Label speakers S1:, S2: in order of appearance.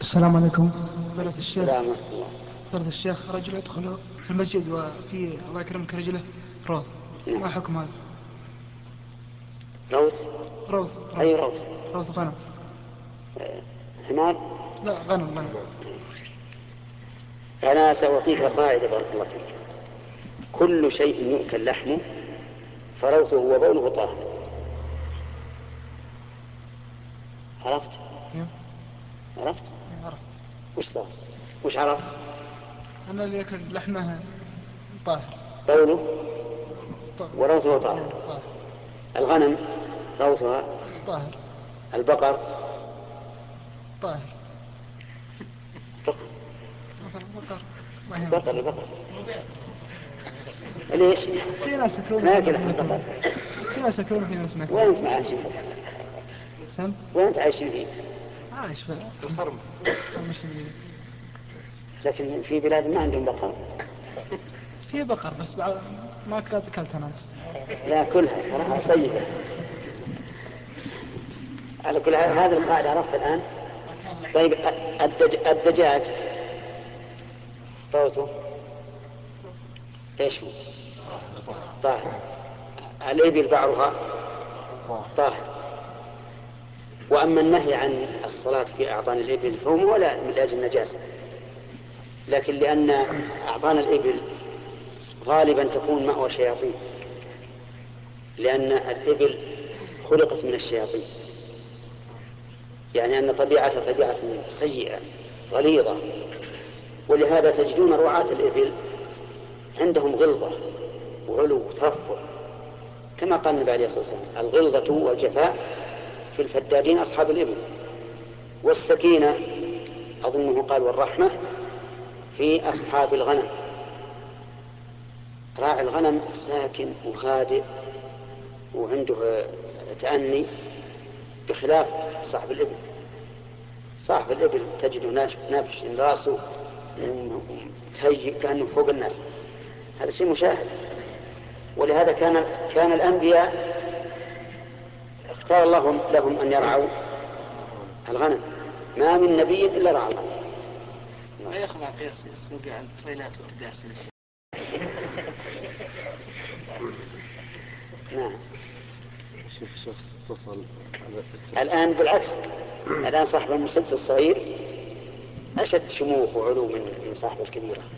S1: السلام عليكم فضيلة الشيخ
S2: السلام ورحمة الله
S1: فضيلة الشيخ رجل يدخل في المسجد وفي الله يكرمك رجله روض ما حكم هذا؟
S2: روث
S1: روض
S2: أي
S1: روض,
S2: روث
S1: روض غنم
S2: حمار
S1: لا غنم غنم
S2: أنا سأعطيك قاعدة بارك الله فيك كل شيء يؤكل لحمه فروثه وبوله طاهر عرفت
S1: يا،
S2: عرفت
S1: يا عرفت
S2: وش صار وش عرفت
S1: انا اللي ياكل لحمه طاهر
S2: بوله
S1: طاهر
S2: وروثه طاهر
S1: طاهر
S2: الغنم روثها
S1: طاهر
S2: البقر
S1: طاهر
S2: البقر
S1: مثلا بقر ما يهم.
S2: البقر البقر ليش؟
S1: في ناس ياكلون
S2: ما ياكل أحد بقر
S1: في ناس ياكلون في ناس ما ياكلون
S2: وين أنت عايشين فيه؟
S1: سم
S2: وين أنت عايشين فيه؟
S1: عايش في
S3: الخرم
S1: مش اللي-
S2: لكن في بلاد ما عندهم بقر
S1: في بقر بس بعد ما قد اكلت انا بس
S2: لا كلها صراحة طيبة على كل حال هذا القاعدة عرفت الآن طيب الدج... الدجاج روثه ايش هو؟ طاهر الإبل بعرها طاهر وأما النهي عن الصلاة في أعضان الإبل فهو مو لا من أجل النجاسة لكن لأن أعضان الإبل غالبا تكون مأوى شياطين لأن الإبل خلقت من الشياطين يعني أن طبيعتها طبيعة سيئة غليظة ولهذا تجدون رعاة الإبل عندهم غلظة وعلو وترفع كما قال النبي عليه الصلاة والسلام الغلظة والجفاء في الفدادين أصحاب الإبل والسكينة أظنه قال والرحمة في أصحاب الغنم راعي الغنم ساكن وهادئ وعنده آه، تأني بخلاف صاحب الإبل صاحب الإبل تجده ناش- نبش من راسه متهيئ كأنه فوق الناس هذا شيء مشاهد ولهذا كان كان الأنبياء اختار الله لهم أن يرعوا الغنم ما من نبي إلا رعى الغنم
S3: ما يخلع قياس يسوق على التريلات والتداسل
S2: نعم
S4: شوف شخص اتصل على
S2: الآن بالعكس الآن صاحب المسدس الصغير أشد شموخ وعلو من من صاحب الكبيرة نعم.